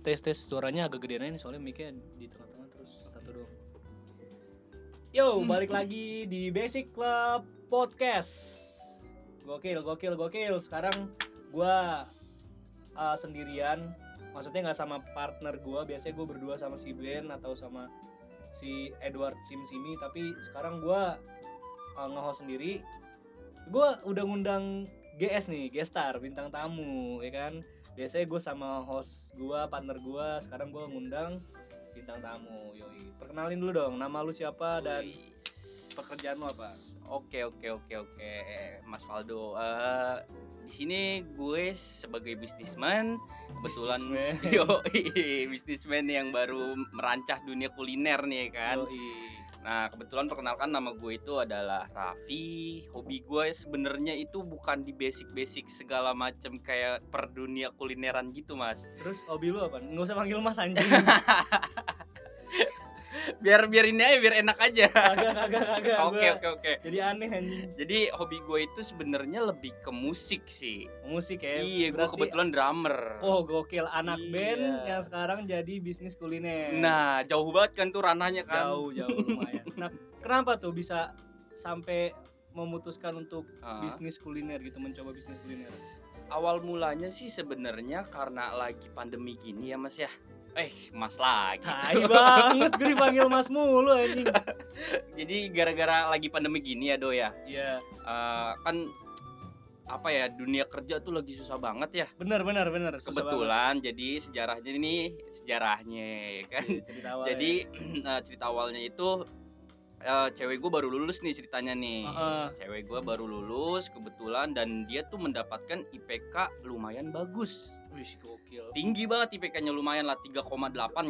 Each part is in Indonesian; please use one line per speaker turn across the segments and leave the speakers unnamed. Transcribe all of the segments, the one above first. tes tes suaranya agak gedean aja nih, soalnya mic-nya di tengah-tengah terus satu doang. Yo, balik lagi di Basic Club Podcast. Gokil, gokil, gokil. Sekarang gua uh, sendirian. Maksudnya nggak sama partner gua, biasanya gua berdua sama si Ben atau sama si Edward Sim Simi, tapi sekarang gua uh, nge-host sendiri. Gua udah ngundang GS nih, Gestar, bintang tamu, ya kan? Biasanya gue sama host gua, partner gua, sekarang gua ngundang bintang tamu, yoi. Perkenalin dulu dong, nama lu siapa dan
Wih.
pekerjaan lu apa?
Oke oke oke oke Mas Faldo. Eh, di sini gue sebagai bisnisman kebetulan ya
Businessman.
Yoi, bisnisman yang baru merancah dunia kuliner nih kan.
Yoi.
Nah, kebetulan perkenalkan nama gue itu adalah Raffi. Hobi gue sebenarnya itu bukan di basic-basic segala macam kayak per dunia kulineran gitu, Mas.
Terus hobi lu apa? Nggak usah panggil mas anjing
Biar biarin aja biar enak aja.
Kagak, kagak, kagak
Oke
Iya, Gua
oke oke.
Jadi aneh anjing
Jadi hobi gue itu sebenarnya lebih ke musik sih.
Musik ya
Iya, gue
berarti-
kebetulan drummer.
Oh gokil, anak
Iya.
band yang sekarang jadi bisnis kuliner
Nah, jauh banget kan tuh ranahnya kan.
jauh jauh lumayan. Nah, kenapa tuh bisa sampai memutuskan untuk
Ah.
bisnis kuliner gitu, mencoba bisnis kuliner?
Awal mulanya sih sebenarnya karena lagi pandemi gini ya Mas ya. Ah, iya. Eh, Mas lagi.
Tai banget gue dipanggil Mas mulu anjing.
Jadi gara-gara lagi pandemi gini ya Do ya.
Iya,
eh, kan apa ya dunia kerja tuh lagi susah banget ya.
benar benar benar. Susah banget.
Kebetulan jadi sejarahnya ini sejarahnya ya kan.
Iya, cerita awal.
Jadi eh, cerita awalnya itu eh, cewek gue baru lulus nih ceritanya
ya.
nih.
Heeh.
Cewek gue baru lulus kebetulan dan dia tuh mendapatkan IPK lumayan bagus.
Wih, gokil.
Tinggi banget IPK-nya lumayan lah 3,8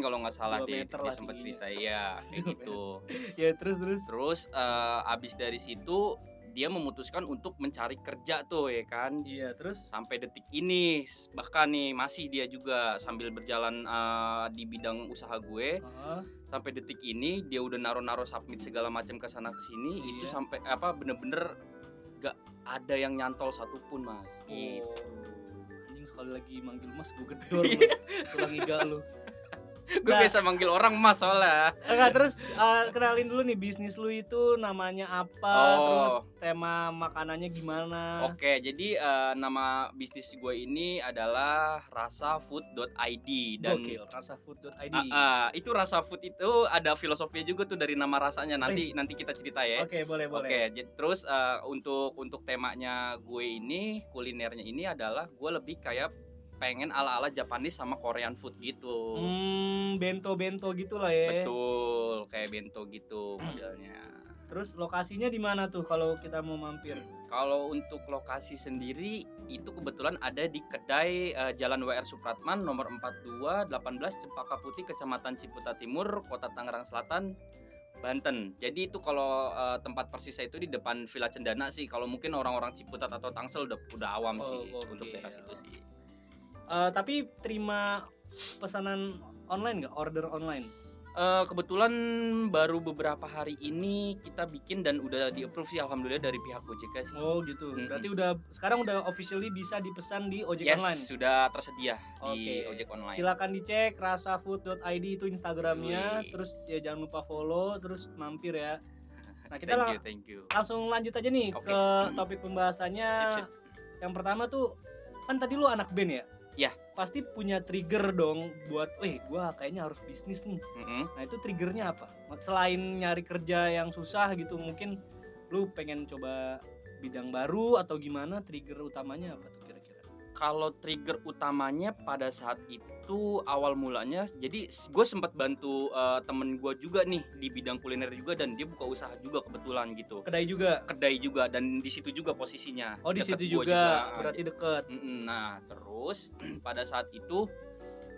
kalau nggak salah
Dua
deh.
meter
Dia
lah
sempat
tingginya.
cerita ya kayak
Dua
gitu.
Ya terus terus.
Terus eh, abis dari situ dia memutuskan untuk mencari kerja tuh ya kan
Iya, terus
sampai detik ini bahkan nih masih dia juga sambil berjalan eh, di bidang usaha gue
Heeh.
sampai detik ini dia udah naro-naro submit segala macam ke sana ke sini itu
Iya.
sampai apa bener-bener gak ada yang nyantol satupun mas gitu.
Oh. Anjing sekali lagi manggil Mas gue gedor. lu. Tulang iga lu.
gue
Nah.
biasa manggil orang mas soalnya
Enggak, terus uh, kenalin dulu nih bisnis lu itu namanya apa,
Oh.
terus tema makanannya gimana.
oke jadi eh, nama bisnis gue ini adalah rasafood.id dan
Gokil, rasafood.id.
Ah, ah, itu rasa food itu ada filosofinya juga tuh dari nama rasanya nanti nanti kita cerita ya
Oke, boleh
Oke,
boleh.
jadi terus eh, untuk untuk temanya gue ini kulinernya ini adalah gue lebih kayak pengen ala-ala Japanese sama Korean food gitu.
Hmm, bento-bento gitu lah ya.
Betul, kayak bento gitu
Hmm.
modelnya.
Terus lokasinya di mana tuh kalau kita mau mampir?
Kalau untuk lokasi sendiri itu kebetulan ada di kedai eh, Jalan WR Supratman nomor 42 18 Cempaka Putih Kecamatan Ciputa Timur, Kota Tangerang Selatan, Banten. Jadi itu kalau eh, tempat persis saya itu di depan Villa Cendana sih. Kalau mungkin orang-orang Ciputat atau Tangsel udah udah awam
Oh,
sih
oke.
untuk daerah situ sih.
Eh, tapi terima pesanan online nggak? Order online?
Eh, kebetulan baru beberapa hari ini kita bikin dan udah di approve sih alhamdulillah dari pihak OJK sih.
Oh gitu.
Mm-mm.
Berarti udah sekarang udah officially bisa dipesan di ojek
yes,
online.
sudah tersedia
Oke.
di ojek online.
Silakan dicek rasafood.id itu Instagramnya.
Yoi.
Terus ya jangan lupa follow. Terus mampir ya. Nah kita
thank
lang-
you, thank you.
langsung lanjut aja nih
Oke.
ke topik pembahasannya.
Sip, sip.
Yang pertama tuh kan tadi lu anak band ya?
Iya.
Pasti punya trigger dong buat, eh gua kayaknya harus bisnis nih.
Mm-mm.
Nah itu triggernya apa? Selain nyari kerja yang susah gitu, mungkin lu pengen coba bidang baru atau gimana? Trigger utamanya apa tuh kira-kira?
Kalau trigger utamanya pada saat itu awal mulanya, jadi gue sempat bantu eh, temen gue juga nih di bidang kuliner juga dan dia buka usaha juga kebetulan gitu.
Kedai juga.
Kedai juga dan di situ juga posisinya.
Oh di
Deket
situ
gua
juga, berarti deket.
Mm-mm. Nah terus pada saat itu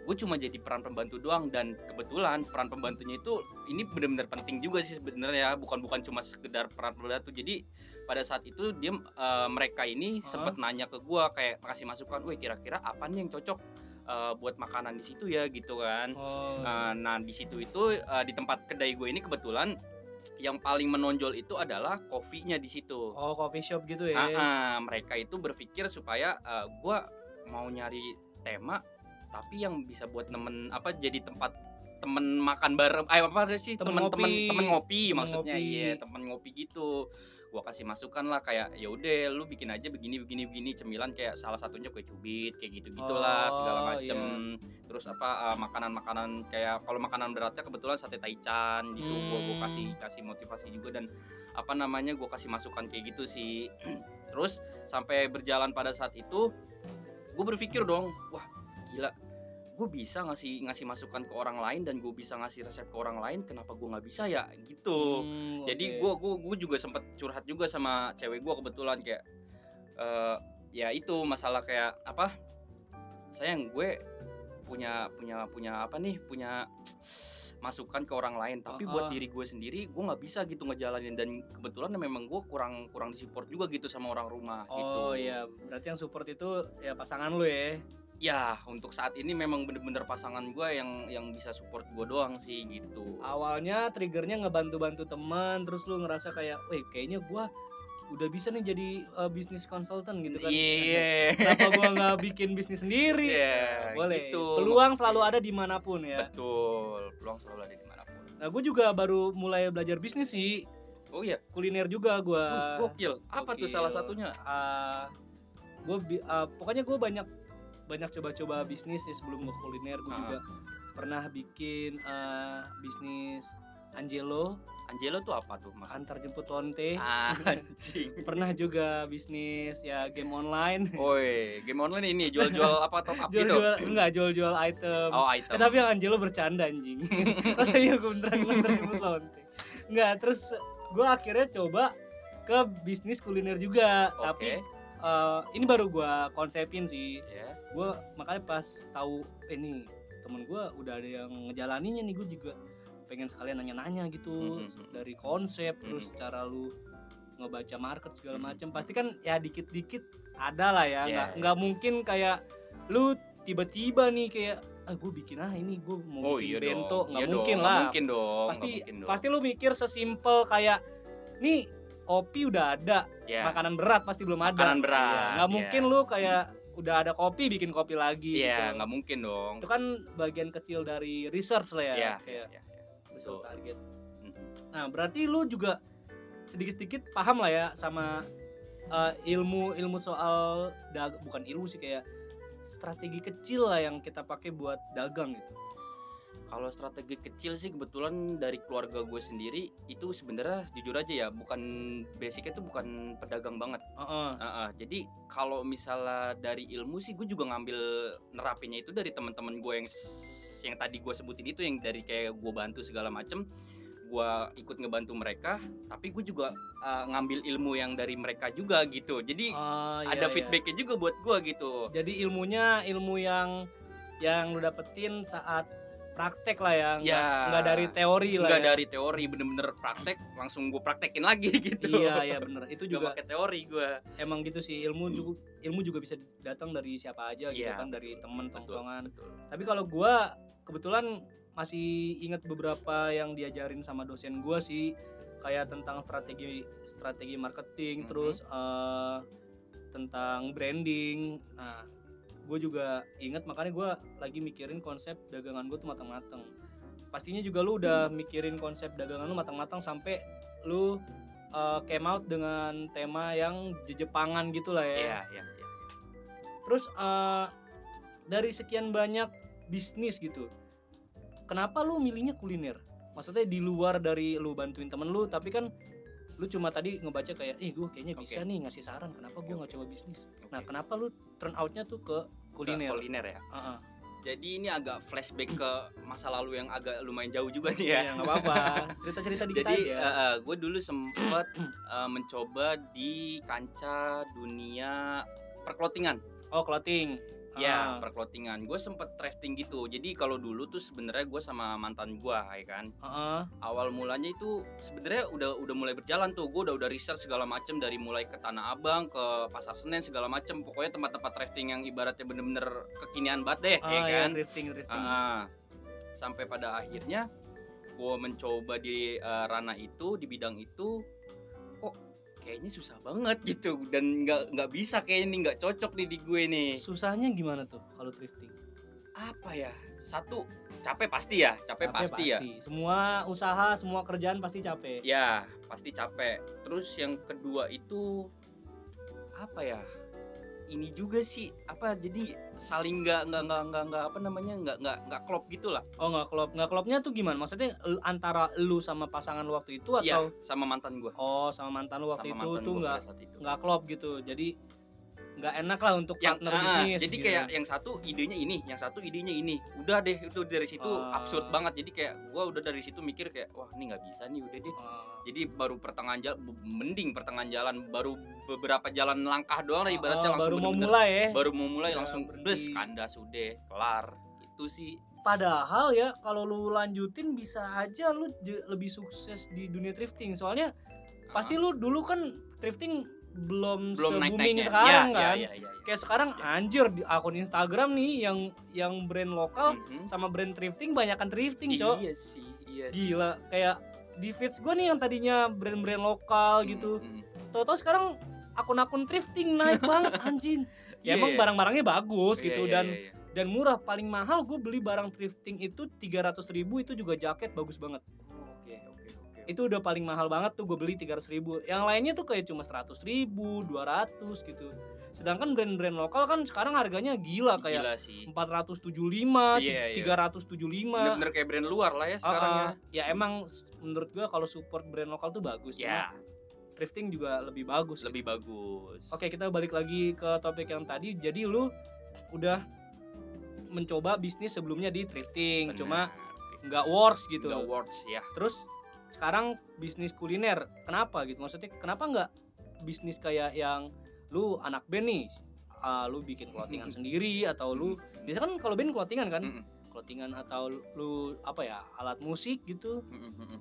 gue cuma jadi peran pembantu doang dan kebetulan peran pembantunya itu ini benar-benar penting juga sih sebenarnya ya. bukan bukan cuma sekedar peran pembantu jadi pada saat itu dia eh, mereka ini
Hah?
sempat nanya ke gue kayak kasih masukan, weh kira-kira apa nih yang cocok eh, buat makanan di situ ya gitu kan.
Oh.
Eh, nah di situ itu eh, di tempat kedai gue ini kebetulan yang paling menonjol itu adalah kopinya di situ.
Oh coffee shop gitu ya?
Ah, ah, mereka itu berpikir supaya eh, gua mau nyari tema tapi yang bisa buat nemen apa jadi tempat temen makan bareng eh apa sih
Temen
temen-temen
ngopi.
temen ngopi
Temen
maksudnya
ngopi.
iya temen ngopi gitu gua kasih masukan lah kayak ya udah lu bikin aja begini begini begini cemilan kayak salah satunya kue cubit kayak gitu gitulah
Oh,
segala macem terus apa eh, makanan-makanan kayak kalau makanan beratnya kebetulan sate taichan gitu gua, gua
Hmm.
kasih kasih motivasi juga dan apa namanya gua kasih masukan kayak gitu sih terus sampai berjalan pada saat itu gue berpikir dong wah gila gue bisa ngasih ngasih masukan ke orang lain dan gue bisa ngasih resep ke orang lain kenapa gue nggak bisa ya gitu
Hmm,
jadi
oke.
gue gue juga sempet curhat juga sama cewek gue kebetulan kayak eh, ya itu masalah kayak apa sayang gue punya punya punya apa nih punya masukan ke orang lain tapi buat
Ah, ah.
diri gue sendiri gue nggak bisa gitu ngejalanin dan kebetulan memang gue kurang kurang disupport juga gitu sama orang rumah gitu
Oh iya, berarti yang support itu ya pasangan lu ya.
ya untuk saat ini memang bener-bener pasangan gue yang yang bisa support gue doang sih gitu
Awalnya triggernya ngebantu-bantu teman, terus lu ngerasa kayak, "Wih, kayaknya gua udah bisa nih jadi uh, bisnis konsultan gitu kan."
iya
Kenapa gua nggak bikin bisnis sendiri?
Iya,
Boleh.
gitu.
Peluang selalu ada dimanapun ya.
betul peluang selalu ada dimanapun
Nah, gue juga baru mulai belajar bisnis sih.
oh iya
Kuliner juga gua.
Wih, gokil apa tuh
Eh, gokil.
salah satunya
Ah, gua bi- ah, pokoknya gue banyak banyak coba-coba bisnis sih sebelum gue kuliner gue
Ah.
juga pernah bikin ah, bisnis Angelo
Angelo tuh apa tuh mas
antar jemput lonte
Ah. anjing
pernah juga bisnis ya game online
Woi, game online ini jual-jual apa top up gitu?
jual-jual enggak jual-jual item
Oh,
Eh,
item.
tapi yang Angelo bercanda anjing masa iya gue beneran antar jemput lonte enggak terus gue akhirnya coba ke bisnis kuliner juga
Oke,
tapi eh, ini baru gua konsepin sih
ya.
gue makanya pas tahu ini temen gue udah ada yang ngejalaninya nih gue juga pengen sekalian nanya-nanya gitu
Mhm.
dari konsep terus
hmm.
cara lu ngebaca market segala
Mhm.
macam pasti kan ya dikit-dikit ada lah ya
Iya,
nggak
iya.
nggak mungkin kayak lu tiba-tiba nih kayak ah gue bikin ah ini gue mau
Oh
bikin
iya
bento
dong.
nggak
Iya
mungkin
dong,
lah
nggak mungkin dong.
pasti
nggak mungkin dong.
pasti lu mikir sesimpel kayak nih kopi udah ada
Ya.
makanan berat pasti belum ada.
Makanan berat,
Iya, Nggak
iya.
mungkin lu kayak udah ada kopi bikin kopi lagi.
Iya,
gitu.
nggak mungkin dong.
Itu kan bagian kecil dari research lah ya.
Iya,
kayak
iya, iya.
besar
betul.
target.
Mhm.
Nah berarti lu juga sedikit-sedikit paham lah ya sama eh, ilmu ilmu soal dag bukan ilmu sih kayak strategi kecil lah yang kita pakai buat dagang gitu.
Kalau strategi kecil sih kebetulan dari keluarga gue sendiri itu sebenarnya jujur aja ya bukan basicnya tuh bukan pedagang banget.
Heeh.
Ah, ah. Jadi kalau misalnya dari ilmu sih gue juga ngambil nerapinnya itu dari teman-teman gue yang s- yang tadi gue sebutin itu yang dari kayak gue bantu segala macem gue ikut ngebantu mereka tapi gue juga ah, ngambil ilmu yang dari mereka juga gitu jadi
Ah, iya,
ada
iya.
feedbacknya juga buat gue gitu
Jadi ilmunya ilmu yang yang lu dapetin saat praktek lah ya, nggak
Ya.
nggak dari teori lah.
nggak
ya.
dari teori bener-bener praktek langsung gue praktekin lagi gitu
Iya iya bener itu juga
juga pakai teori gue
emang gitu sih ilmu juga ilmu juga bisa datang dari siapa aja gitu
Iya,
kan dari temen tongkrongan
betul
tapi kalau gua kebetulan masih ingat beberapa yang diajarin sama dosen gua sih kayak tentang strategi strategi marketing
Mhm.
terus eh, tentang branding nah gue juga ingat makanya gua lagi mikirin konsep dagangan gue tuh matang-matang pastinya juga lu udah
Hmm.
mikirin konsep dagangan lu matang-matang sampai lu eh, came out dengan tema yang jejepangan gitu lah ya
iya iya iya.
Terus eh, dari sekian banyak bisnis gitu, kenapa lu milihnya kuliner? Maksudnya di luar dari lu bantuin temen lu, tapi kan lu cuma tadi ngebaca kayak, ih gue kayaknya bisa
Oke.
nih ngasih saran, kenapa gue
Oke,
nggak coba bisnis?
Oke.
Nah kenapa lu turn outnya tuh ke kuliner?
Ke kuliner ya
Ah, ah.
jadi ini agak flashback ke masa lalu yang agak lumayan jauh juga nih ya
Ya nggak apa-apa, cerita-cerita dikit
Jadi eh,
aja.
gue dulu sempat eh, mencoba di kancah dunia perklotingan.
oh clothing.
Ya,
Ah,
perklotingan. Gue sempat thrifting gitu. Jadi kalau dulu tuh sebenarnya gue sama mantan gue, ya kan.
ah, ah.
Awal mulanya itu sebenarnya udah udah mulai berjalan tuh. Gue udah udah research segala macem dari mulai ke Tanah Abang, ke Pasar Senen segala macem. Pokoknya tempat-tempat thrifting yang ibaratnya bener-bener kekinian banget deh,
Ah,
ya
ya,
kan.
thrifting, thrifting.
Ah, sampai pada akhirnya gue mencoba di eh, ranah itu di bidang itu kok kayaknya susah banget gitu dan nggak nggak bisa kayaknya nih nggak cocok nih di gue nih
Susahnya gimana tuh kalau thrifting?
apa ya satu capek pasti ya capek, pasti, ya
Semua usaha, semua kerjaan pasti capek.
ya pasti capek terus yang kedua itu apa ya ini juga sih apa jadi saling nggak nggak nggak nggak nggak apa namanya nggak nggak nggak klop gitu lah
Oh nggak klop, nggak klopnya tuh gimana? Maksudnya l- antara lu sama pasangan lu waktu itu
Iya,
atau
sama mantan gue
oh sama mantan lu waktu
sama
itu
mantan
tuh
gua
nggak
pada saat itu
nggak klop gitu. Jadi nggak enak lah untuk
yang
partner
ah,
bisnis.
jadi
gitu.
kayak yang satu idenya ini yang satu idenya ini udah deh itu dari situ
Ah.
absurd banget jadi kayak gua udah dari situ mikir kayak wah ini nggak bisa nih udah deh
Oh.
jadi baru pertengahan jalan mending pertengahan jalan baru beberapa jalan langkah doang lah ibaratnya
Oh,
langsung
baru mau
bener-bener-
mulai ya.
baru mau mulai
Ya,
langsung
berhenti.
bes kandas udah kelar itu sih
Padahal ya kalau lu lanjutin bisa aja lu je- lebih sukses di dunia thrifting. Soalnya pasti lu dulu kan thrifting belum,
Ah, belum naik
booming
naiknya
sekarang
ya,
kan.
ya, ya, ya, ya.
Kayak sekarang anjir di akun Instagram nih yang yang brand lokal
Mhm.
sama brand thrifting banyakan thrifting, Cok.
iya sih iya sih.
Gila, kayak di feeds gue nih yang tadinya brand-brand lokal gitu.
Mhm.
Toto sekarang akun-akun thrifting naik banget anjing. Ya
Iya,
emang
iya.
barang-barangnya bagus
Iya,
gitu
iya,
dan
iya, iya.
dan murah paling mahal gue beli barang thrifting itu 300.000 ribu itu juga jaket bagus banget
oke oke oke
itu udah paling mahal banget tuh gue beli 300.000 ribu yang lainnya tuh kayak cuma 100.000 ribu 200 gitu sedangkan brand-brand lokal kan sekarang harganya gila kayak
Gila sih
475
Iya, iya.
375
bener-bener kayak brand luar lah ya sekarang
Ah,
ya
ah. ya emang s- menurut gue kalau support brand lokal tuh bagus
ya
Cuma thrifting juga lebih bagus gitu.
lebih bagus
Oke, kita balik lagi ke topik yang tadi. Jadi lu udah mencoba bisnis sebelumnya di thrifting,
Benar.
cuma nggak works gitu.
The awards ya
Terus sekarang bisnis kuliner, kenapa gitu? Maksudnya kenapa nggak bisnis kayak yang lu anak band nih, ah, lu bikin clothingan sendiri atau lu biasa kan kalau band clothingan kan,
Mm-mm.
clothingan atau lu apa ya alat musik gitu?
Mm-mm, mm-mm.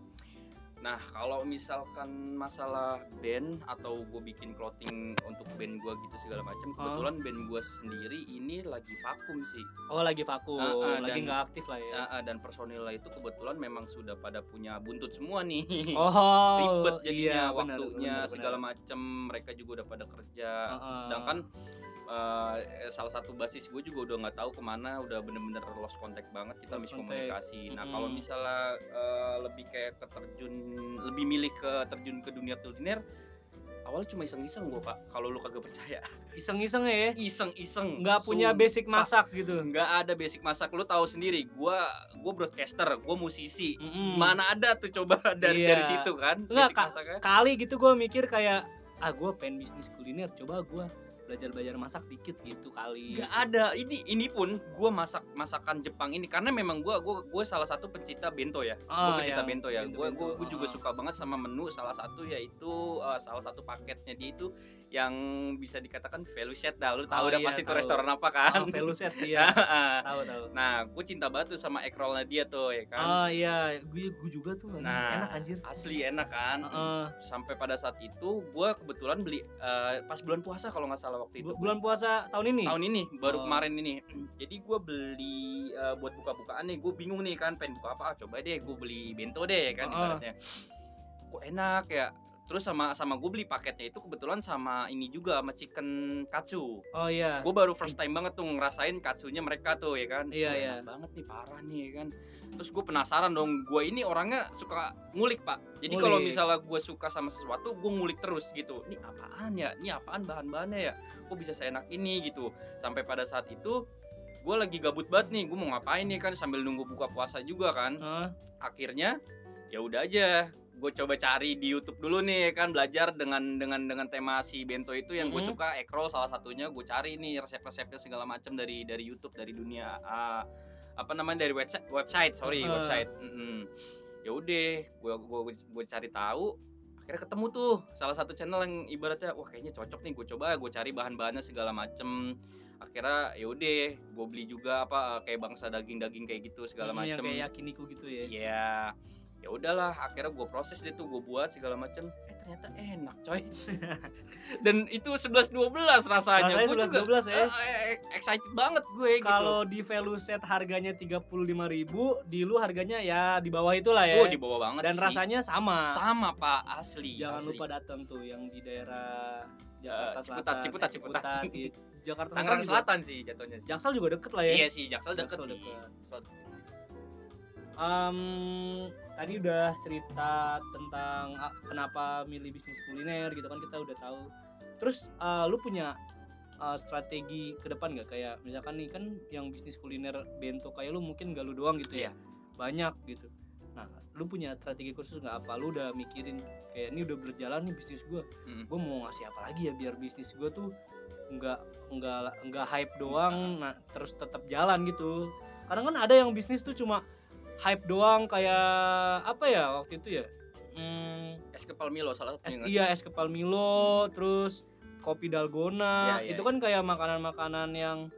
Nah kalau misalkan masalah band atau gue bikin clothing untuk band gue gitu segala
Ah.
macam, kebetulan band gue sendiri ini lagi vakum sih,
Oh lagi vakum,
Ah, ah,
lagi
dan-
nggak aktif lah ya.
Ah, ah, dan personilnya itu kebetulan memang sudah pada punya buntut semua nih.
Oh,
ribet jadinya
iya, benar,
waktunya
benar, benar.
segala macem mereka juga udah pada kerja
Heeh.
sedangkan eh, salah satu basis gue juga udah nggak tahu kemana udah bener-bener lost contact banget kita
Lost
miskomunikasi nah
Mm-mm.
kalau misalnya eh, lebih kayak keterjun lebih milih ke terjun ke dunia kuliner awalnya cuma iseng-iseng gue pak kalau lu kagak percaya
Iseng-iseng ya.
iseng-iseng
nggak punya
Sumpah.
basic masak gitu.
Hmm, nggak ada basic masak lu tahu sendiri gue gue broadcaster gue musisi
Mm-mm.
mana ada tuh coba
Hmm.
dari
Iya.
dari situ kan
Nggak,
basic
Kak.
masaknya
kali gitu gue mikir kayak ah gue pengen bisnis kuliner coba gue belajar belajar masak dikit gitu kali.
nggak ada ini ini pun gue masak masakan Jepang ini karena memang gue gue gue salah satu pencinta bento ya gue
Ah,
pencinta
ya.
bento ya gue
Bento-bento.
gue juga
Ah.
suka banget sama menu salah satu yaitu eh, salah satu paketnya dia itu yang bisa dikatakan value set dah lu
Oh,
tahu udah
iya,
pasti itu
tahu.
restoran apa kan
Ah, veluset iya. tahu tahu.
nah gue cinta banget tuh sama ekrolnya dia tuh ya kan
Ah iya, gue gue juga tuh anjing. enak
Nah.
anjir.
asli enak kan
Heeh.
sampai pada saat itu gue kebetulan beli eh, pas bulan puasa kalau nggak salah waktu itu
Bu- bulan puasa tahun ini.
tahun ini baru
Oh.
kemarin ini jadi gue beli eh, buat buka-bukaan nih gue bingung nih kan pengen buka apa Ah, coba deh gue beli bento deh kan
Ah.
ibaratnya kok enak ya terus sama sama gue beli paketnya itu kebetulan sama ini juga sama chicken katsu
Oh iya.
gue baru first time banget tuh ngerasain katsunya mereka tuh ya kan
Iya,
Wah,
iya.
enak banget nih parah nih ya kan terus gue penasaran dong gue ini orangnya suka ngulik pak jadi kalau
Ngulik.
misalnya gue suka sama sesuatu gue ngulik terus gitu ini apaan ya ini apaan bahan-bahannya ya kok bisa seenak ini gitu sampai pada saat itu gue lagi gabut banget nih gue mau ngapain nih kan sambil nunggu buka puasa juga kan
Heeh.
akhirnya ya udah aja gue coba cari di YouTube dulu nih kan belajar dengan dengan dengan tema si bento itu yang gue
Mhm.
suka ekro salah satunya gue cari nih resep-resepnya segala macam dari dari YouTube dari dunia ah, apa namanya dari website website
Eh.
sorry website Mm-mm. ya udah gue gue gue cari tahu akhirnya ketemu tuh salah satu channel yang ibaratnya wah kayaknya cocok nih gue coba gue cari bahan-bahannya segala macem akhirnya ya udah gue beli juga apa kayak bangsa daging-daging kayak gitu segala
Hmm, Yang
macem
kayak yakiniku gitu ya.
ya ya udahlah akhirnya gue proses deh tuh gue buat segala macam eh ternyata enak coy dan itu 11 12
Rasanya
rasanya gue juga
11-12 ya.
eh, eh, excited banget gue gitu
Kalau di Veluset harganya 35.000, di lu harganya ya di bawah itulah ya.
gue dibawa
Dan
banget Oh, sih.
rasanya sama.
sama pak asli
Jangan
asli.
lupa datang tuh yang di daerah Jakarta
Eh, Ciputat,
Selatan,
Ciputat,
eh,
Ciputat.
iya. Jakarta
Tangerang
juga-
Selatan sih jatuhnya sih.
Jaksel juga deket lah ya
Iya sih, Jaksel deket
Jaksel
sih.
deket.
Jaksel-
Em, tadi udah cerita tentang ah, kenapa milih bisnis kuliner gitu kan kita udah tahu terus eh, lu punya eh, strategi ke depan nggak kayak misalkan nih kan yang bisnis kuliner bento kayak lu mungkin gak lu doang gitu ya
Iya.
banyak gitu nah lu punya strategi khusus nggak apa lu udah mikirin kayak ini udah berjalan nih bisnis gua
Mm.
gue mau ngasih apa lagi ya biar bisnis gue tuh nggak nggak nggak hype doang nah terus tetap jalan gitu kadang kan ada yang bisnis tuh cuma hype doang kayak apa ya waktu itu ya hmm,
Es kepal Milo salah
es
satunya. nggak sih?
iya es kepal Milo terus kopi dalgona
Iya, iya,
itu kan kayak makanan-makanan yang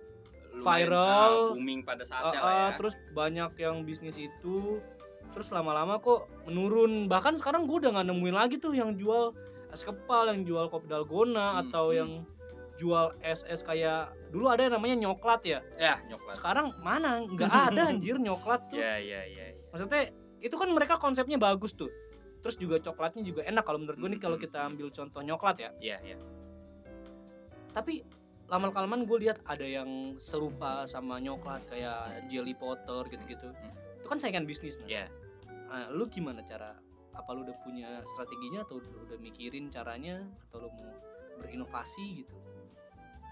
Lumayan,
viral.
ah, booming pada
uh,
saatnya lah
uh,
ya.
terus banyak yang bisnis itu terus lama-lama kok menurun bahkan sekarang gue udah nggak nemuin lagi tuh yang jual es kepal yang jual kopi dalgona
Hmm,
atau
hmm.
yang jual es es kayak dulu ada yang namanya nyoklat ya
ya nyoklat.
sekarang mana nggak ada anjir nyoklat tuh
Ya ya ya. ya.
maksudnya itu kan mereka konsepnya bagus tuh terus juga coklatnya juga enak kalau menurut gue nih
Hmm,
kalau
hmm,
kita ambil contoh nyoklat ya
Iya ya.
tapi lama kelamaan gue lihat ada yang serupa sama nyoklat kayak jelly potter gitu-gitu itu kan saingan bisnis nah.
Hmm. Iya.
Ah, lu gimana cara apa lu udah punya strateginya atau lu udah mikirin caranya atau lu mau berinovasi gitu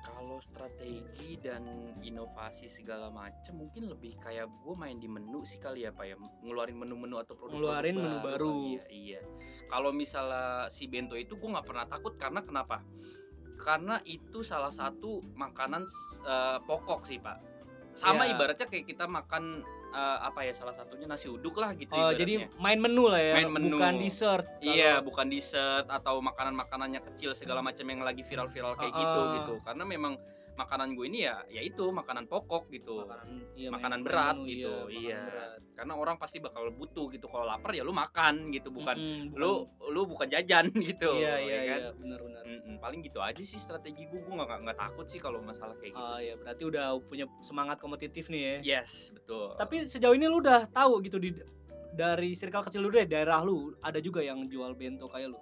Kalau strategi dan inovasi segala macem mungkin lebih kayak gue main di menu sih kali ya pak ya ngeluarin menu-menu atau produk
Ngeluarin menu baru.
Iya. iya. Kalau misalnya si bento itu gue nggak pernah takut karena kenapa? Karena itu salah satu makanan eh, pokok sih pak. Sama
Iya.
ibaratnya kayak kita makan eh, apa ya salah satunya nasi uduk lah gitu.
oh
ibaratnya.
jadi main menu lah ya
Main menu.
bukan dessert Kalau-
Iya, bukan dessert atau makanan-makanannya kecil segala macam yang lagi viral-viral kayak
Ah,
gitu
ah.
gitu. Karena memang makanan gue ini ya yaitu makanan pokok gitu.
makanan, iya,
Makanan
main
berat
menu,
gitu,
makanan
iya.
berat.
Karena orang pasti bakal butuh gitu. Kalau lapar ya lu makan gitu, bukan
Mm-mm,
lu lu bukan jajan gitu.
iya
ya
iya
kan?
iya benar-benar
Mm-mm, paling gitu aja sih strategi gue. Gue nggak nggak takut sih kalau masalah kayak gitu.
ah ya berarti udah punya semangat kompetitif nih ya
Yes, betul.
tapi sejauh ini lu udah tahu gitu di dari circle kecil lu deh daerah lu ada juga yang jual bento kayak lu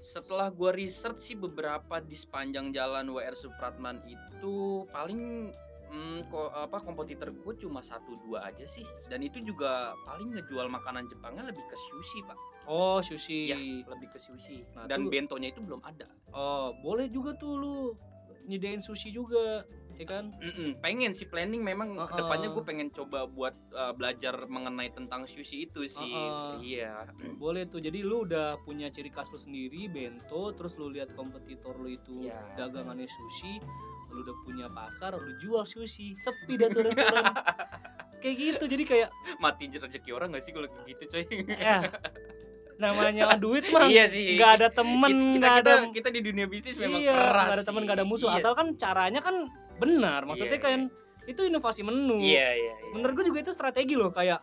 setelah gua research sih beberapa di sepanjang jalan WR Supratman itu paling mm, ko- apa kompetitor gue cuma satu dua aja sih dan itu juga paling ngejual makanan Jepangnya lebih ke sushi pak
oh sushi
Ya. lebih ke sushi
Nah,
dan
tuh-
bentonya itu belum ada
Oh, boleh juga tuh lu nyedain sushi juga, ya kan?
Mm-mm, pengen sih planning memang
Uh-uh.
kedepannya gue pengen coba buat uh, belajar mengenai tentang sushi itu sih
Uh-uh.
iya
Boleh tuh. Jadi lu udah punya ciri khas lu sendiri bento, terus lu lihat kompetitor lu itu
Iya.
dagangannya sushi, lu udah punya pasar, lu jual sushi, sepi dah tuh restoran. kayak gitu. Jadi kayak
mati rezeki orang gak sih kalau kayak gitu coy
eh namanya duit mah
iya sih
nggak ada
Kita-
temen,
kita,
nggak ada
kita, kita di dunia bisnis memang
iya,
keras
nggak ada temen,
sih.
nggak ada musuh.
Iya
Asal kan caranya kan benar. Maksudnya
Iya,
kan itu inovasi menu.
Iya iya. iya.
Menurut gue juga itu strategi loh kayak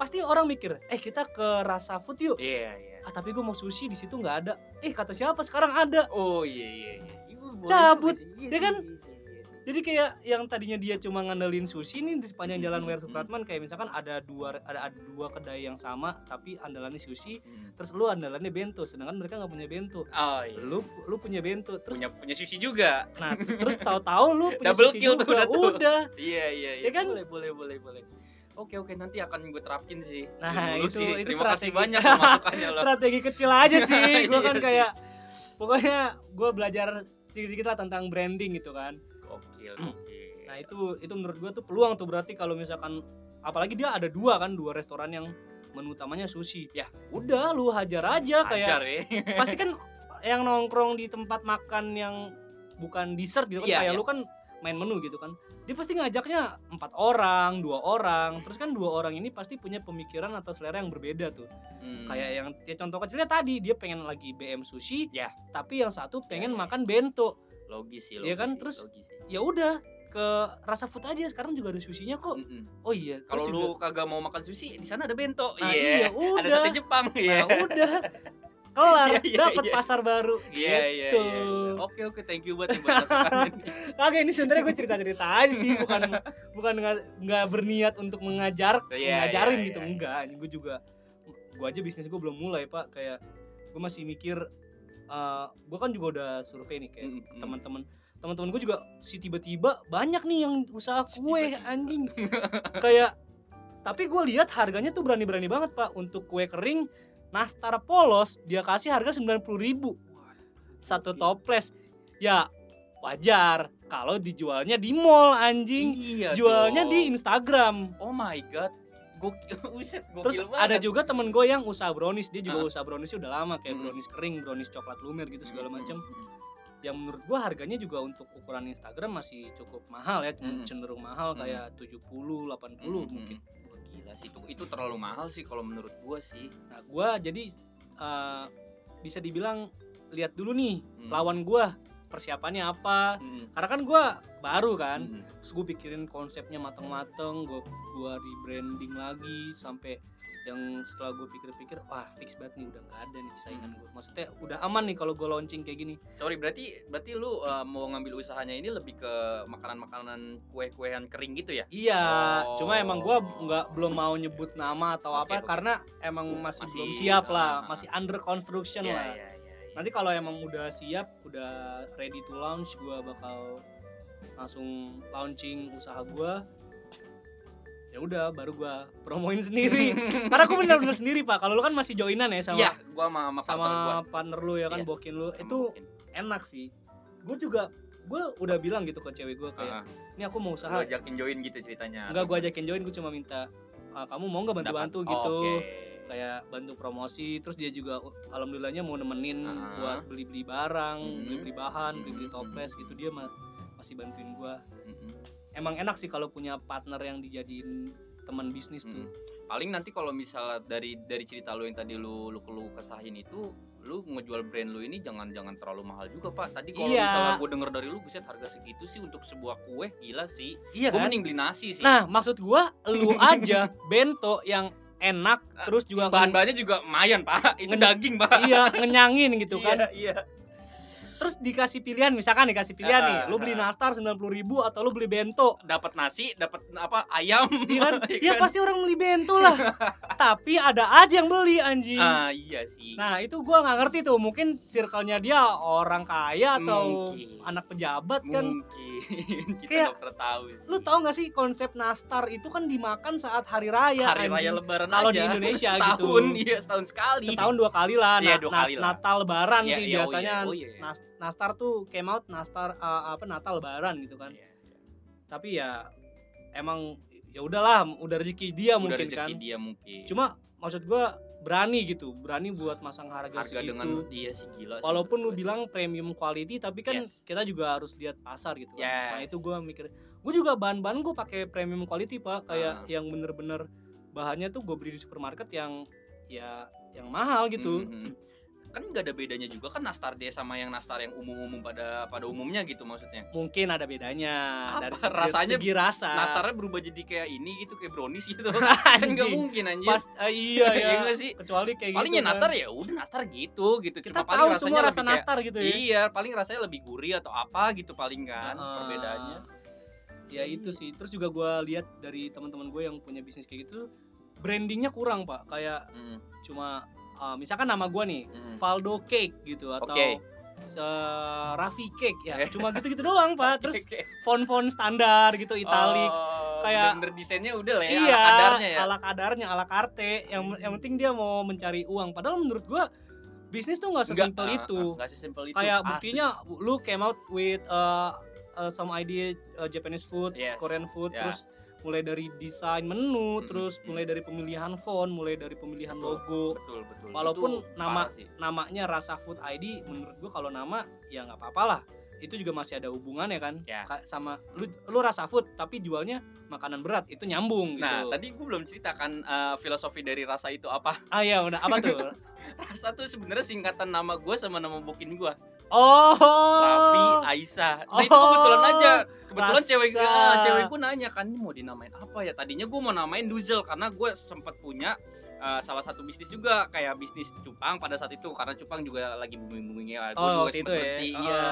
pasti orang mikir, eh kita ke rasa food yuk.
Iya iya.
Ah tapi gue mau sushi di situ nggak ada. Eh kata siapa sekarang ada.
Oh iya iya. iya. Ibu boleh
Cabut,
juga sih. Iya
ya
sih,
kan?
iya, iya, iya.
Jadi kayak yang tadinya dia cuma ngandelin sushi nih di sepanjang
Hmm,
jalan
hmm,
WR
hmm.
Supratman kayak misalkan ada dua ada, ada dua kedai yang sama tapi andalannya sushi,
Hmm.
terus lu andalannya bento, sedangkan mereka nggak punya bento.
Oh iya.
Lu lu punya bento, terus
punya punya sushi juga.
nah terus tahu-tahu lu punya
Double
sushi
kill tuh
juga.
udah tuh.
udah.
Iya iya iya.
Ya kan?
Boleh boleh boleh boleh. Oke oke nanti akan gue terapin sih.
Nah,
Dulu
itu-
sih.
itu
Terima
strategi.
kasih banyak loh masukannya loh.
strategi kecil aja sih gue kan
Iya sih.
kayak pokoknya gue belajar sedikit lah tentang branding gitu kan
Oke oke.
nah itu itu menurut gue tuh peluang tuh berarti kalau misalkan apalagi dia ada dua kan dua restoran yang menu utamanya sushi
Ya.
udah lu hajar aja kayak
Ajar ya.
pasti kan yang nongkrong di tempat makan yang bukan dessert gitu kan
Iya,
kayak
iya.
lu kan main menu gitu kan dia pasti ngajaknya empat orang dua orang terus kan dua orang ini pasti punya pemikiran atau selera yang berbeda tuh
Hmm.
kayak yang ya contoh kecilnya tadi dia pengen lagi BM sushi
Ya.
tapi yang satu pengen
Ya, ya.
makan bento
logis sih.
Iya
logis
kan?
sih,
Terus-
logis sih.
ya udah ke rasa food aja sekarang juga ada sushinya kok
Mm-mm.
oh iya terus
Hmm. Kalau lu
juga-
kagak mau makan sushi di sana ada bento.
nah, iya
Iya.
udah
Ada sate Jepang. Iya.
nah, udah kelar
Iya, iya,
dapat
iya.
pasar baru
Iya iya
Gitu.
iya. Oke oke thank you buat yang buat masukan.
kagak ini sebenarnya gue cerita cerita aja sih bukan bukan nggak nggak berniat untuk mengajar
Iya,
ngajarin
iya,
gitu
iya,
enggak gue juga gue aja bisnis gue belum mulai pak kayak gue masih mikir eh, gue kan juga udah survei nih kayak
Mm, mm.
teman-teman teman-teman gue juga si tiba-tiba banyak nih yang usaha
Si
kue
tiba-tiba.
anjing kayak tapi gue lihat harganya tuh berani-berani banget pak untuk kue kering nastar polos dia kasih harga 90.000 ribu satu
Oke.
toples ya wajar kalau dijualnya di mall anjing
Iya
jualnya
dong.
di Instagram
Oh my god. Gokil. Buset, gokil
Terus
banget.
ada juga temen gue yang usaha brownies, dia juga
Ah.
usaha brownies udah lama kayak
Mm.
brownies kering, brownies coklat lumer gitu segala
Mm,
macam.
mm, mm.
Yang menurut gue harganya juga untuk ukuran Instagram masih cukup mahal ya,
Mm.
cenderung mahal
Mm.
kayak 70, 80 mungkin.
hmm. Wah, gila sih itu itu terlalu mahal sih kalau menurut gua sih
Nah, gue jadi eh, bisa dibilang lihat dulu nih
Hmm.
lawan gue persiapannya apa.
Mm,
Karena kan gue baru kan,
mm,
terus gue pikirin konsepnya mateng-mateng gue gue rebranding lagi sampai yang setelah gue pikir-pikir wah fix banget nih udah nggak ada nih saingan gue maksudnya udah aman nih kalau gue launching kayak gini
sorry berarti berarti lu uh, mau ngambil usahanya ini lebih ke makanan makanan kue kuean kering gitu ya
iya
Oh.
cuma emang gue nggak belum mau nyebut nama atau apa
Oke, oke.
karena emang masih,
Masih,
belum siap lah
ah.
masih under construction
Iya,
lah
iya, iya, iya.
nanti kalau emang udah siap udah ready to launch gue bakal langsung launching usaha gue ya udah baru gue promoin sendiri Karena aku benar-benar sendiri pak. Kalau lu kan masih joinan ya sama
Iya, gua sama sama,
sama
partner gua.
partner lu ya kan
Iya.
bokin lu
Sama
itu
Bokin.
enak sih. Gue juga gue udah bilang gitu ke cewek gue
Heeh.
kayak ini aku mau usaha.
Lu Ah, ajakin join gitu ceritanya.
Enggak gue ajakin join gue cuma minta "Ah, kamu mau nggak bantu-bantu
Dapat. Oh,
gitu
Oke.
kayak bantu promosi terus dia juga uh, alhamdulillahnya mau nemenin
Ah.
buat beli-beli barang,
Mhm.
beli-beli bahan, beli-beli
Mhm.
toples gitu dia ma- masih bantuin gua.
Mm-mm,
Emang enak sih kalau punya partner yang dijadiin teman bisnis
mm-mm.
tuh.
Hmm. Paling nanti kalau misalnya dari dari cerita lu yang tadi lu lu, lu kesahin itu lu ngejual brand lu ini jangan jangan terlalu mahal juga pak tadi kalau
Iya.
misalnya gue denger dari lu buset harga segitu sih untuk sebuah kue gila sih
Iya
gue mending beli nasi sih
Nah, maksud gua lu aja bento yang enak terus juga
bahan-bahannya juga lumayan pak itu
Ngen-
daging pak
iya ngenyangin gitu kan.
iya,
Terus dikasih pilihan misalkan dikasih pilihan
Ah,
nih, lu beli nastar 90.000 atau lu beli bento.
dapat nasi dapat apa ayam
Iya kan?
Iya
Ya
kan?
pasti orang beli bento lah. Tapi ada aja yang beli anjing.
ah iya sih
Nah, itu gua nggak ngerti tuh, mungkin circle-nya dia orang kaya atau
Mungkin.
anak pejabat kan.
mungkin kita
Kayak-
nggak pernah tahu sih.
Lu tau gak sih konsep nastar itu kan dimakan saat hari raya ya,
hari
anjing.
raya lebaran
Kalau
aja.
di Indonesia gitu.
setahun iya setahun sekali
setahun dua kali lah,
Iya,
na-
dua
na-
kali lah.
Natal Lebaran
Iya,
sih
iya, oh
biasanya
iya, oh iya.
nas- nastar tuh came out nastar uh, apa Natal Lebaran gitu kan
Iya.
tapi ya emang ya udahlah udah rezeki dia
Udah
mungkin
rezeki
kan
dia mungkin
cuma maksud gua berani gitu berani buat masang harga,
harga
segitu
dengan iya sih gila sih,
walaupun lu
menurut gua
bilang premium quality tapi kan
Yes.
kita juga harus lihat pasar gitu kan. nah
Yes.
itu gua mikir gua juga bahan-bahan gua pakai premium quality pak
Ah.
kayak yang bener-bener bahannya tuh gua beli di supermarket yang ya yang mahal
sih.
gitu
Mhm. kan nggak ada bedanya juga kan nastar dia sama yang nastar yang umum-umum pada pada umumnya gitu maksudnya
mungkin ada bedanya
Apa?
dari segi,
Rasanya
segi rasa
nastarnya berubah jadi kayak ini gitu kayak brownies gitu kan nggak
Nah. Anjing.
mungkin anjir
pas eh, iya ya
Iya nggak sih?
kecuali kayak
palingnya
gitu kan.
nastar ya udah nastar gitu gitu
kita
paling
tahu semua rasa
lebih kayak-
nastar gitu ya
iya paling rasanya lebih gurih atau apa gitu paling kan
Ah.
perbedaannya
ya itu sih terus juga gua lihat dari teman-teman gue yang punya bisnis kayak gitu brandingnya kurang pak kayak
Hmm,
cuma eh, misalkan nama gua nih
hmm.
Valdo Cake gitu atau
Oke.
se Raffi Cake ya
Eh.
cuma gitu-gitu doang pak terus
Oke.
font-font standar gitu italik
Oh,
kayak-
bener-bener desainnya udah lah ya
iya,
ala kadarnya ya
ala kadarnya, ala karte. Yang yang penting dia mau mencari uang. Padahal menurut gua bisnis tuh nggak sesimpel itu.
nggak ah, sesimpel itu Ah,
Kayak
asli.
buktinya lu came out with uh, uh, some idea uh, Japanese food,
Yes,
Korean food,
ya.
terus mulai dari desain menu,
Mm,
terus
mm,
mulai dari pemilihan font, mulai dari pemilihan
Betul.
logo.
betul betul
walaupun
Itu
nama- gitu.
parah sih.
Namanya Rasa Food ID menurut gua kalau nama ya nggak apa-apalah. Itu juga masih ada hubungannya kan
Ya.
Ka- sama lu lu rasa food tapi jualnya makanan berat itu nyambung
nah
gitu.
tadi gue belum ceritakan eh, filosofi dari rasa itu apa
Ah iya udah apa tuh?
rasa tuh sebenarnya singkatan nama gue sama nama bukin gue
Oh.
Raffi Aisyah. Nah itu kebetulan
Oh,
aja. Kebetulan
rasa.
cewek ah, cewek gue nanya kan ini mau dinamain apa ya? Tadinya gue mau namain Duzel karena gue sempat punya eh, salah satu bisnis juga kayak bisnis cupang pada saat itu karena cupang juga lagi booming boomingnya.
Oh,
Gue juga
waktu itu
sempat iya.
ya.
berhenti.
Oh.
Iya.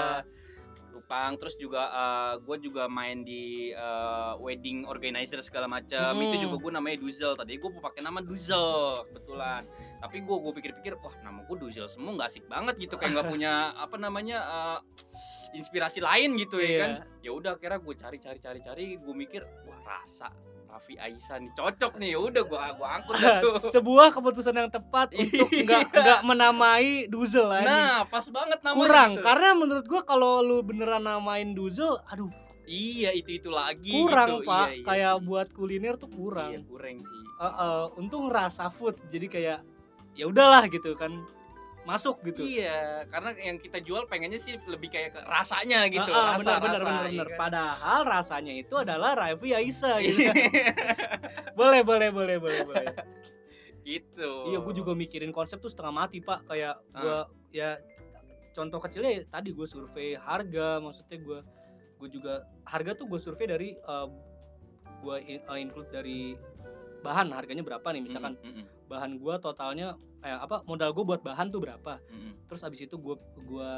Cupang. Terus juga eh, gue juga main di eh, wedding organizer segala macam
Hmm.
itu juga gue namanya Duzel tadi gue pakai nama Duzel kebetulan tapi gue gue pikir-pikir wah nama gue Duzel semua nggak asik banget gitu kayak nggak punya apa namanya eh, inspirasi lain gitu
Iya.
ya kan ya udah akhirnya gue cari cari cari cari gue mikir wah rasa Raffi Aisyah nih cocok nih ya udah gue gue angkut dah tuh
sebuah keputusan yang tepat untuk nggak nggak menamai Duzel lah ini.
Iya. nah pas banget namanya
kurang
gitu.
karena menurut gua kalau lu beneran namain Duzel aduh
iya itu itu lagi
kurang
gitu.
pak
Iya, iya
kayak
sih.
buat kuliner tuh kurang
iya, kurang sih
Eh, eh, untung rasa food jadi kayak ya udahlah gitu kan masuk gitu
Iya, karena yang kita jual pengennya sih lebih kayak ke rasanya gitu,
Ah, ah, benar,
rasa
benar, benar,
rasa.
benar.
iya kan? Iya.
Padahal rasanya itu adalah Raffi Aisyah gitu. kan. boleh, boleh, boleh, boleh, boleh.
gitu.
Iya, gue juga mikirin konsep tuh setengah mati pak. Kayak gue ya contoh kecilnya ya tadi gue survei harga, maksudnya gue gue juga harga tuh gue survei dari eh, gue eh, include dari bahan harganya berapa nih misalkan
Mm, mm,
bahan gue totalnya eh, apa modal gue buat bahan tuh berapa
mm, mm,
terus abis itu gue gua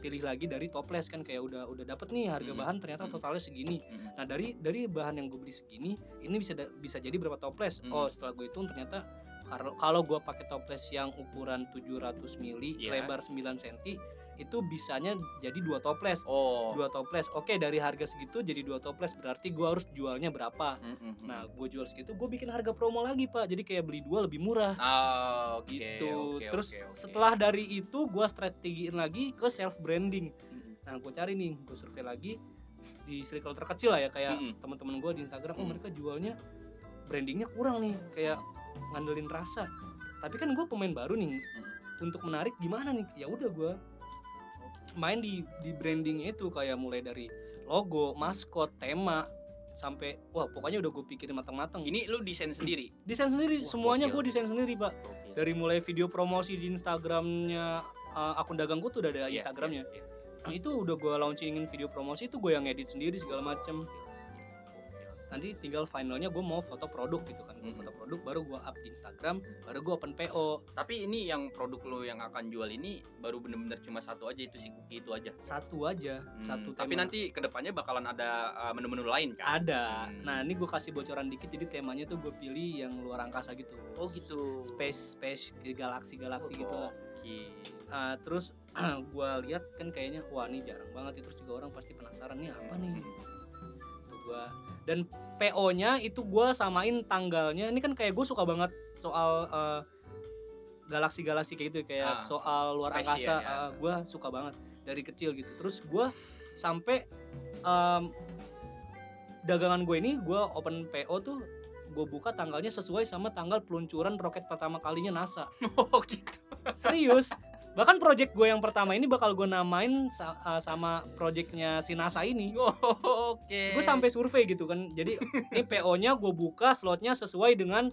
pilih lagi dari toples kan kayak udah udah dapet nih harga
Mm.
bahan ternyata
Mm.
totalnya segini
mm, mm.
nah dari dari bahan yang gue beli segini ini bisa da- bisa jadi berapa toples
Mm.
oh setelah gue hitung ternyata kalau kalau gue pakai toples yang ukuran 700 mili
Iya.
lebar 9 cm itu bisanya jadi dua toples
Oh.
dua toples oke dari harga segitu jadi dua toples berarti gue harus jualnya berapa
Mm, mm, mm.
nah gue jual segitu gue bikin harga promo lagi pak jadi kayak beli dua lebih murah
Ah, oke.
gitu.
oke,
Terus
oke, oke.
setelah dari itu gua strategiin lagi ke self branding.
Mm,
Nah, gue cari nih, gue survei lagi di circle terkecil lah ya kayak
Mm-mm.
teman-teman gua di Instagram, oh
Mm.
mereka jualnya brandingnya kurang nih, kayak ngandelin rasa. Tapi kan gue pemain baru nih, untuk menarik gimana nih? Ya udah gua main di di brandingnya itu kayak mulai dari logo, maskot, tema sampai wah pokoknya udah gue pikirin matang-matang.
ini lu desain sendiri.
Desain sendiri,
Wah,
semuanya
gokil.
gue desain sendiri pak
Oke.
dari mulai video promosi di Instagramnya uh, akun dagangku tuh udah ada
Iya,
Instagramnya
iya, iya.
itu udah gue launchingin video promosi itu gue yang edit sendiri segala macem
Iya.
nanti tinggal finalnya gue mau foto produk gitu kan gue
Mhm.
foto produk baru gue up di Instagram baru gue open PO
Tapi ini yang produk lu yang akan jual ini baru bener-bener cuma satu aja itu si cookie itu aja.
satu aja
Hmm,
satu
Tapi
tema.
nanti kedepannya bakalan ada uh, menu-menu lain kan?
ada
Hmm.
nah ini gue kasih bocoran dikit jadi temanya tuh gue pilih yang luar angkasa gitu
Oh gitu. Oh,
space space galaksi galaksi gitu lah
Oke.
Uh, terus gue lihat kan kayaknya wah ini jarang banget terus juga orang pasti penasaran nih apa
Hmm.
nih Tuh Gitu gua dan PO-nya itu gua samain tanggalnya. Ini kan kayak gue suka banget soal eh, galaksi-galaksi kayak gitu kayak
Ah,
soal luar
spesies
angkasa.
ya.
Eh, gua suka banget dari kecil gitu. Terus gua sampai em, dagangan gue ini gua open PO tuh gue buka tanggalnya sesuai sama tanggal peluncuran roket pertama kalinya NASA.
Oh gitu.
Serius. Bahkan project gue yang pertama ini bakal gue namain sa- eh, sama projectnya si NASA ini
Oh, Oke.
gue sampai survei gitu kan jadi ini PO nya gue buka slotnya sesuai dengan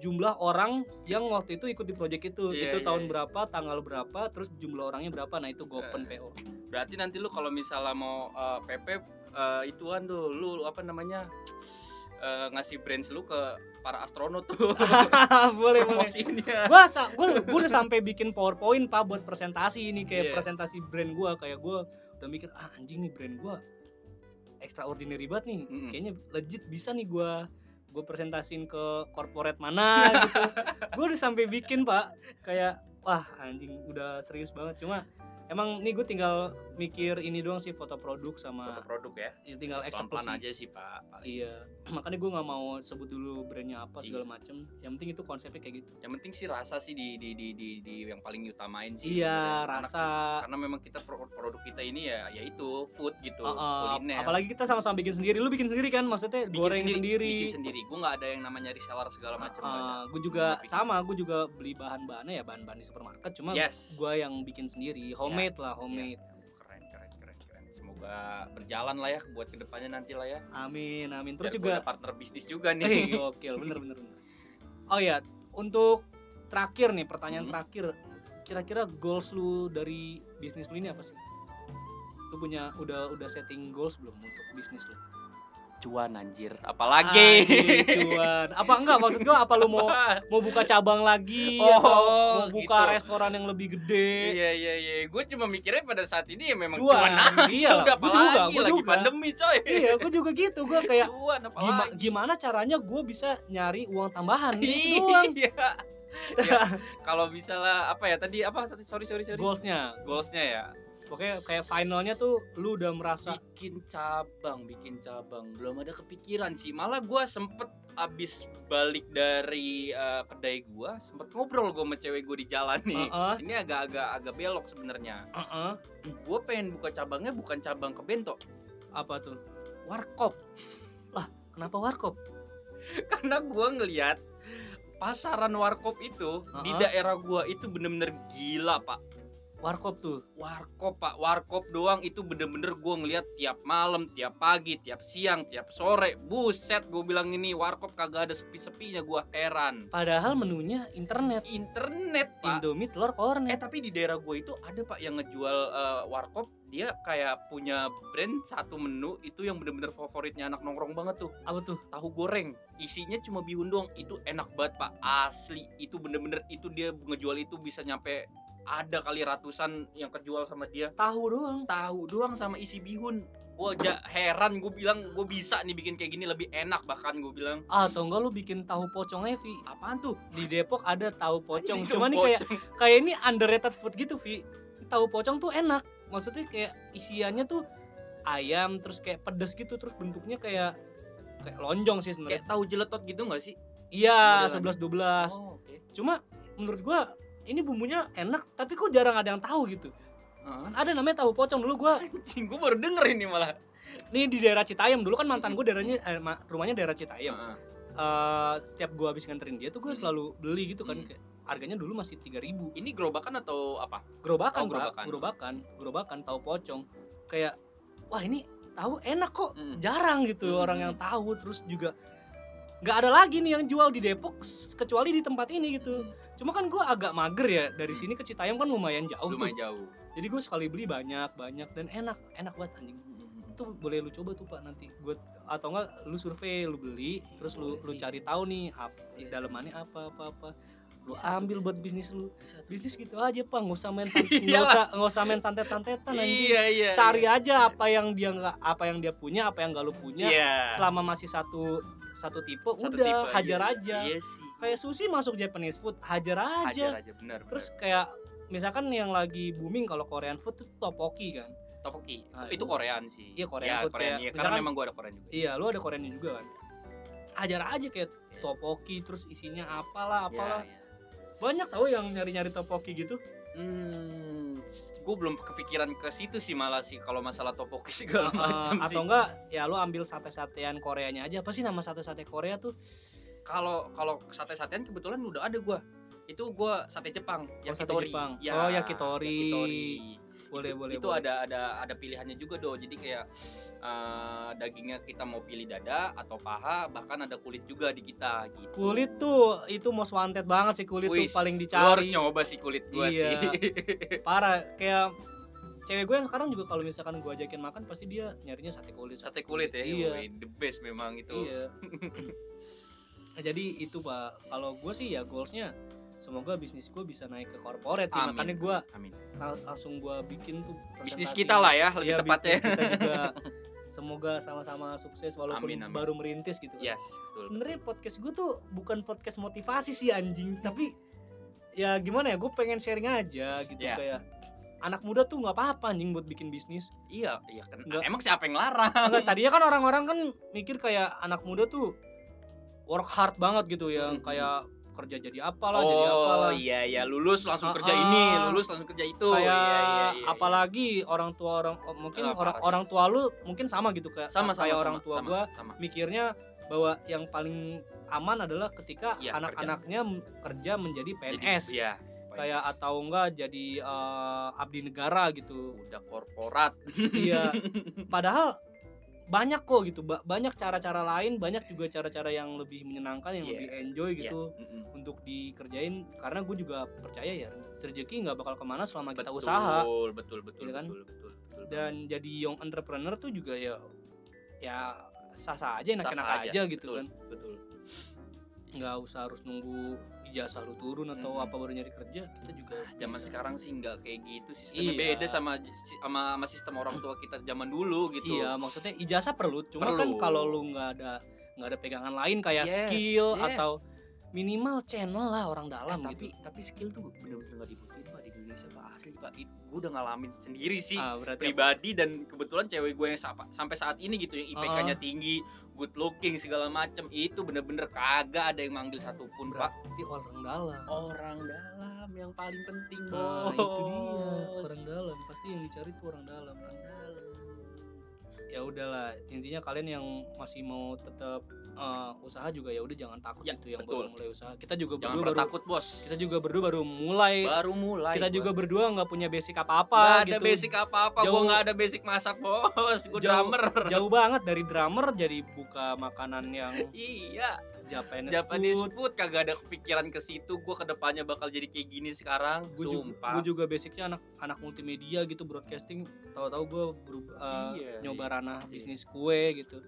jumlah orang yang waktu itu ikut di project itu
Iya,
itu
iya, Eh.
tahun
iya.
berapa tanggal berapa terus jumlah orangnya berapa nah itu gue open PO
Berarti nanti lu kalau misalnya mau uh, PP uh, ituan tuh lu, lu apa namanya? uh, ngasih brands lu ke para astronot tuh. Ah, ya.
boleh boleh
Promosinya.
gue udah sampai bikin powerpoint pak buat presentasi ini kayak
Iya.
presentasi brand gue kayak gue udah mikir ah anjing nih brand gue extraordinary banget nih
Mm-mm.
kayaknya legit bisa nih gue gue presentasiin ke corporate mana gitu gue udah sampai bikin pak kayak wah anjing udah serius banget cuma emang nih gue tinggal mikir ini doang sih foto produk
Foto
sama
produk ya.
ya, tinggal
Pelan-pelan
eksekusi
aja sih, Pak. Paling.
iya makanya gue nggak mau sebut dulu brandnya apa segala
Iya.
macem yang penting itu konsepnya kayak gitu
Yang penting sih rasa sih di di di di, di- yang paling utamain sih.
iya
sebenarnya. Karena-
rasa
Karena memang kita pro- produk kita ini ya yaitu food gitu,
Uh, uh,
kuliner.
apalagi kita sama-sama bikin sendiri lu bikin sendiri kan maksudnya
Bikin
goreng
bikin
sendiri,
sendiri. Gue nggak ada yang namanya reseller segala macam. nggak ada.
gue juga
Bikin
sama gue juga beli bahan-bahannya ya bahan-bahan di supermarket cuma
yes.
gue yang bikin sendiri homemade lah homemade
Iya, iya. keren keren keren keren semoga berjalan lah ya buat kedepannya nanti lah ya
amin amin terus
Biar gua
juga
ada partner bisnis juga
eh
nih
gokil bener bener bener oh ya untuk terakhir nih pertanyaan
Hmm.
terakhir kira-kira goals lu dari bisnis lu ini apa sih lu punya udah udah setting goals belum untuk bisnis lu
cuan anjir apalagi
Anjing, cuan. Apa enggak maksud gua apa lu mau
Apaan?
mau buka cabang lagi
Oh,
atau mau buka
gitu.
restoran yang lebih gede.
iya iya iya gue cuma mikirnya pada saat ini ya memang
Cuan,
cuan, aja
iya.
udah
Gua juga,
apalagi
gua
lagi
juga.
pandemi coy
Iya, gua juga gitu. Gua kayak
cuan
gima,
apalagi
gimana caranya gue bisa nyari uang tambahan itu doang
iya Ya, kalau bisa lah apa ya tadi apa sorry sorry sorry
goalsnya
goalsnya ya
pokoknya kayak finalnya tuh lu udah merasa
bikin cabang bikin cabang belum ada kepikiran sih malah gua sempet abis balik dari eh, kedai gua sempet ngobrol gua sama cewek gua di jalan nih
"Heeh,
ini agak-agak agak belok sebenarnya
heeh."
gua pengen buka cabangnya bukan cabang ke bento
apa tuh
warkop
kenapa warkop
karena gua ngelihat pasaran warkop itu di
Uh-uh.
daerah gua itu bener-bener gila pak
warkop tuh
warkop pak warkop doang itu bener-bener gue ngeliat tiap malam tiap pagi tiap siang tiap sore buset gue bilang ini warkop kagak ada sepi-sepinya gue heran
padahal menunya internet
internet pak
Indomie telur
eh
kornet
tapi di daerah gue itu ada pak yang ngejual eh, warkop dia kayak punya brand satu menu itu yang bener-bener favoritnya anak nongkrong banget tuh
apa tuh
tahu goreng isinya cuma bihun doang itu enak banget pak asli itu bener-bener itu dia ngejual itu bisa nyampe ada kali ratusan yang kejual sama dia
tahu doang
tahu doang sama isi bihun gue aja heran gue bilang gue bisa nih bikin kayak gini lebih enak bahkan gue bilang
atau enggak lu bikin tahu pocong Evi
apaan tuh
di Depok ada tahu pocong
Anjing,
cuma nih
tuh
kayak
pocong.
kayak ini underrated food gitu Vi tahu pocong tuh enak maksudnya kayak isiannya tuh ayam terus kayak pedes gitu terus bentuknya kayak kayak lonjong sih sebenarnya
kayak tahu jeletot gitu nggak sih
Iya,
Modelan.
11 12.
oh, oke
Cuma menurut gua ini bumbunya enak, tapi kok jarang ada yang tahu gitu.
Hah?
Kan ada namanya tahu pocong dulu gua
anjing gue baru denger ini malah Iya,
nih di daerah Citayam dulu kan mantan gua daerahnya eh, ma- rumahnya daerah Citayam.
Heeh.
Eh, setiap gua habis nganterin dia tuh gua
Hmm.
selalu beli gitu kan
Hmm.
kayak harganya dulu masih 3000.
ini gerobakan atau apa
Gerobakan, Pak.
Oh, gerobakan.
gerobakan, gerobakan tahu pocong. Kayak wah ini tahu enak kok.
Mm.
Jarang gitu
Hmm.
orang yang tahu terus juga nggak ada lagi nih yang jual di Depok s- kecuali di tempat ini gitu. Cuma kan gue agak mager ya dari
Hmm.
sini ke Citayam kan lumayan jauh
lumayan
tuh.
jauh
Jadi gue sekali beli banyak banyak dan enak enak banget anjing. Itu boleh lu coba tuh pak nanti gue atau enggak lu survei lu beli terus lu
Boleh
lu
sih.
cari tahu nih ap,
Iya sih.
dalemannya apa apa apa. Lu
Bisa tuh,
ambil
bisa.
buat bisnis lu.
Bisa tuh.
Bisnis gitu aja pak nggak usah main san- nggak
Iyalah.
usah nggak usah main santet santetan anjing.
iya iya
Cari
iya.
aja apa yang dia nggak apa yang dia punya apa yang nggak lu punya.
Iya.
Selama masih satu satu tipe
Satu
udah
tipe,
hajar
iya.
aja.
iya sih
Kayak sushi masuk Japanese food hajar aja.
hajar aja benar
Terus kayak misalkan yang lagi booming kalau Korean food tuh topoki kan.
topoki
Nah,
itu
itu-
Korean sih
Iya, Korean
ya,
food
Korean,
kayak-
iya, karena
misalkan-
memang gue ada Korean juga
Iya, lu ada Koreannya juga kan. Ajar aja kayak topoki terus isinya apalah
Iya,
apalah.
iya.
Banyak tahu yang nyari-nyari topoki gitu.
Hmm, gue belum kepikiran ke situ sih malah sih kalau masalah topoki segala
Eh,
macam sih.
atau enggak ya lu ambil sate-satean Koreanya aja. Apa sih nama sate-sate Korea tuh?
Kalau kalau sate-satean kebetulan udah ada gua. Itu gua sate Jepang,
sate
yakitori. Ya,
Jepang. Oh, yakitori. Boleh,
itu,
boleh.
Itu
boleh.
ada ada ada pilihannya juga do. Jadi kayak eh, dagingnya kita mau pilih dada atau paha, bahkan ada kulit juga di kita gitu.
kulit tuh itu most wanted banget sih kulit
Wis,
tuh paling
lu harus
dicari.
nyoba sih kulit gua
Iya.
sih.
Parah kayak cewek gue yang sekarang juga kalau misalkan gue ajakin makan pasti dia nyarinya sate kulit.
sate kulit ya. gitu.
Iya.
woi, the best memang itu.
Iya. Nah, Jadi itu pak, kalau gue sih ya goalsnya semoga bisnis gue bisa naik ke corporate sih.
Amin.
Makanya gue
Amin.
langsung gue bikin tuh
Bisnis
presentasi.
kita lah ya, lebih
Iya,
tepatnya.
bisnis kita juga. Semoga sama-sama sukses walaupun
Amin, amin.
baru merintis gitu. kan.
Yes, betul.
Sebenarnya podcast gue tuh bukan podcast motivasi sih anjing, tapi ya gimana ya gue pengen sharing aja gitu
Iya.
kayak anak muda tuh nggak apa-apa anjing buat bikin bisnis.
Iya, iya kan.
Nggak-
Emang siapa yang larang?
Enggak, tadinya kan orang-orang kan mikir kayak anak muda tuh work hard banget gitu yang
Mm-mm.
kayak kerja jadi apalah, jadi apalah.
iya iya lulus langsung
Ah,
kerja ini,
ah.
lulus langsung kerja itu.
Kayak
Iya, iya, iya, iya.
apalagi orang tua orang oh, mungkin
Ah,
orang
parah sih.
orang tua lu mungkin sama gitu kayak
sama sama
kayak
sama,
orang tua
sama,
gua
sama.
mikirnya bahwa yang paling aman adalah ketika
Iya,
anak-anaknya m- kerja menjadi
Jadi,
PNS.
Iya.
Kayak
PNS.
atau enggak jadi eh, abdi negara gitu.
udah korporat.
Iya. Padahal banyak kok gitu, ba- banyak cara-cara lain, banyak juga cara-cara yang lebih menyenangkan, yang
Iya.
lebih enjoy
Iya,
gitu
mm-mm.
untuk dikerjain. Karena gue juga percaya ya, rezeki nggak bakal kemana selama kita
Betul,
usaha.
Betul betul
Iya kan?
betul betul betul.
Dan jadi young entrepreneur tuh juga ya, ya sah-sah aja enak-enak
Sah-sah
aja,
aja,
gitu
betul.
kan
betul
nggak usah harus nunggu ijazah lu turun atau
Mm-mm. Ah,
apa baru nyari kerja kita juga
zaman
bisa.
sekarang sih nggak kayak gitu sistemnya
Iya.
beda sama si- sama sama sistem orang tua kita zaman dulu gitu
iya maksudnya ijazah perlu cuma
Perlu.
kan kalau lu nggak ada nggak ada pegangan lain kayak
Yes,
skill
yes.
atau minimal channel lah orang
Eh,
dalam
tapi
gitu
tapi skill tuh bener-bener nggak dibutuhin pak di Indonesia pak asli pak gue udah ngalamin sendiri sih
ah berarti
pribadi dan kebetulan cewek gue yang sapa- sampai saat ini gitu yang IPK-nya tinggi, good looking segala macem itu bener-bener kagak ada yang manggil satupun pak.
berarti orang dalam
Orang dalam yang paling penting
nah
bos.
itu dia
Oh.
orang dalam pasti yang dicari tuh orang dalam orang dalam ya udahlah intinya kalian yang masih mau tetap eh, usaha juga ya udah jangan takut
Ya,
gitu yang baru
betul.
mulai usaha kita juga
Jangan
berdua
pernah
baru
takut bos.
kita juga berdua baru mulai
baru mulai.
kita
bos.
juga berdua nggak punya basic
Iya, Nggak
apa-apa
ada
gitu
basic apa-apa, gue
Jauh-
nggak ada basic masak bos, gue
Jauh-
drummer.
jauh banget dari drummer jadi buka makanan yang
Iya,
Japanese,
Japanese
food.
food kagak ada kepikiran ke situ. Gue kedepannya bakal jadi kayak gini sekarang.
Gue juga,
Sumpah.
gua juga basicnya anak anak multimedia gitu broadcasting. Tahu-tahu gue berubah eh,
Iya,
nyoba ranah
Iya.
bisnis kue gitu.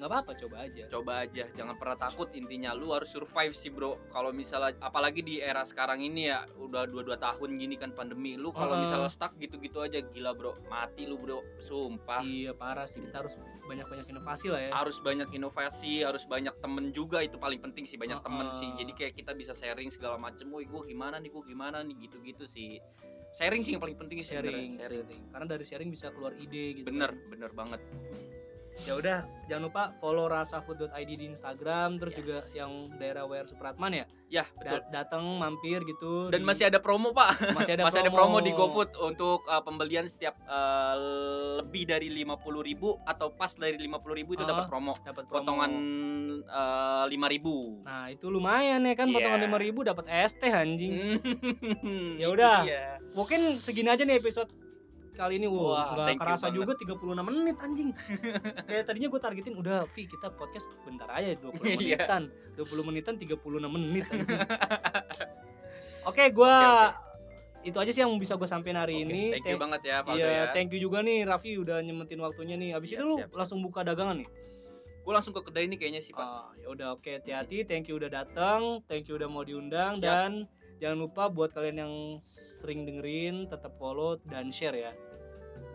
nggak apa-apa coba aja.
coba aja jangan pernah takut intinya lu harus survive sih bro kalau misalnya apalagi di era sekarang ini ya udah dua dua tahun gini kan pandemi lu
Ah.
kalau misalnya stuck gitu gitu aja gila bro mati lu bro sumpah
Iya parah sih kita harus banyak-banyak inovasi lah ya.
Ah. harus banyak inovasi harus banyak temen juga itu paling penting sih banyak temen
Ah.
sih jadi kayak kita bisa sharing segala macem woi gue gimana nih gue gimana nih gitu gitu sih sharing sih yang paling penting sih
Sharing,
sebenarnya,
sharing, Karena dari sharing bisa keluar ide gitu.
bener bener banget
Ya udah, jangan lupa follow rasafood.id di Instagram terus
Yes.
juga yang daerah WR Supratman ya.
ya betul
Da- datang mampir gitu.
dan
di-
masih ada promo pak
masih ada
Masih ada
promo
promo di GoFood untuk uh, pembelian setiap uh, lebih dari 50.000 atau pas dari 50.000 itu
Ah,
dapat promo.
Dapat promo.
Potongan uh, 5.000.
Nah itu lumayan ya kan
Iya.
potongan lima ribu dapat es teh anjing.
Hmm,
Ya
itu
udah.
dia.
Mungkin segini aja nih episode kali ini.
Wah,
Wah, nggak
thank you
kerasa
banget.
juga 36 menit anjing. Kayak tadinya gue targetin udah Vi kita podcast bentar aja 20
Iya.
menitan. 20 menitan 36 menit anjing. Oke, gua itu aja sih yang bisa gue sampein hari
Oke,
ini.
thank you
Thank-
banget ya Valdo
Iya,
ya.
thank you juga nih Raffi udah nyemetin waktunya nih. Abis
Siap,
itu lu
siap.
langsung buka dagangan nih.
Gue langsung ke kedai ini kayaknya sih, Pak.
Ah, ya udah oke hati-hati. Thank you udah datang, thank you udah mau diundang
Siap.
dan jangan lupa buat kalian yang sering dengerin tetap follow dan share ya.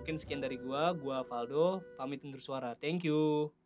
Mungkin sekian dari gua, gua Valdo, pamit undur suara. Thank you.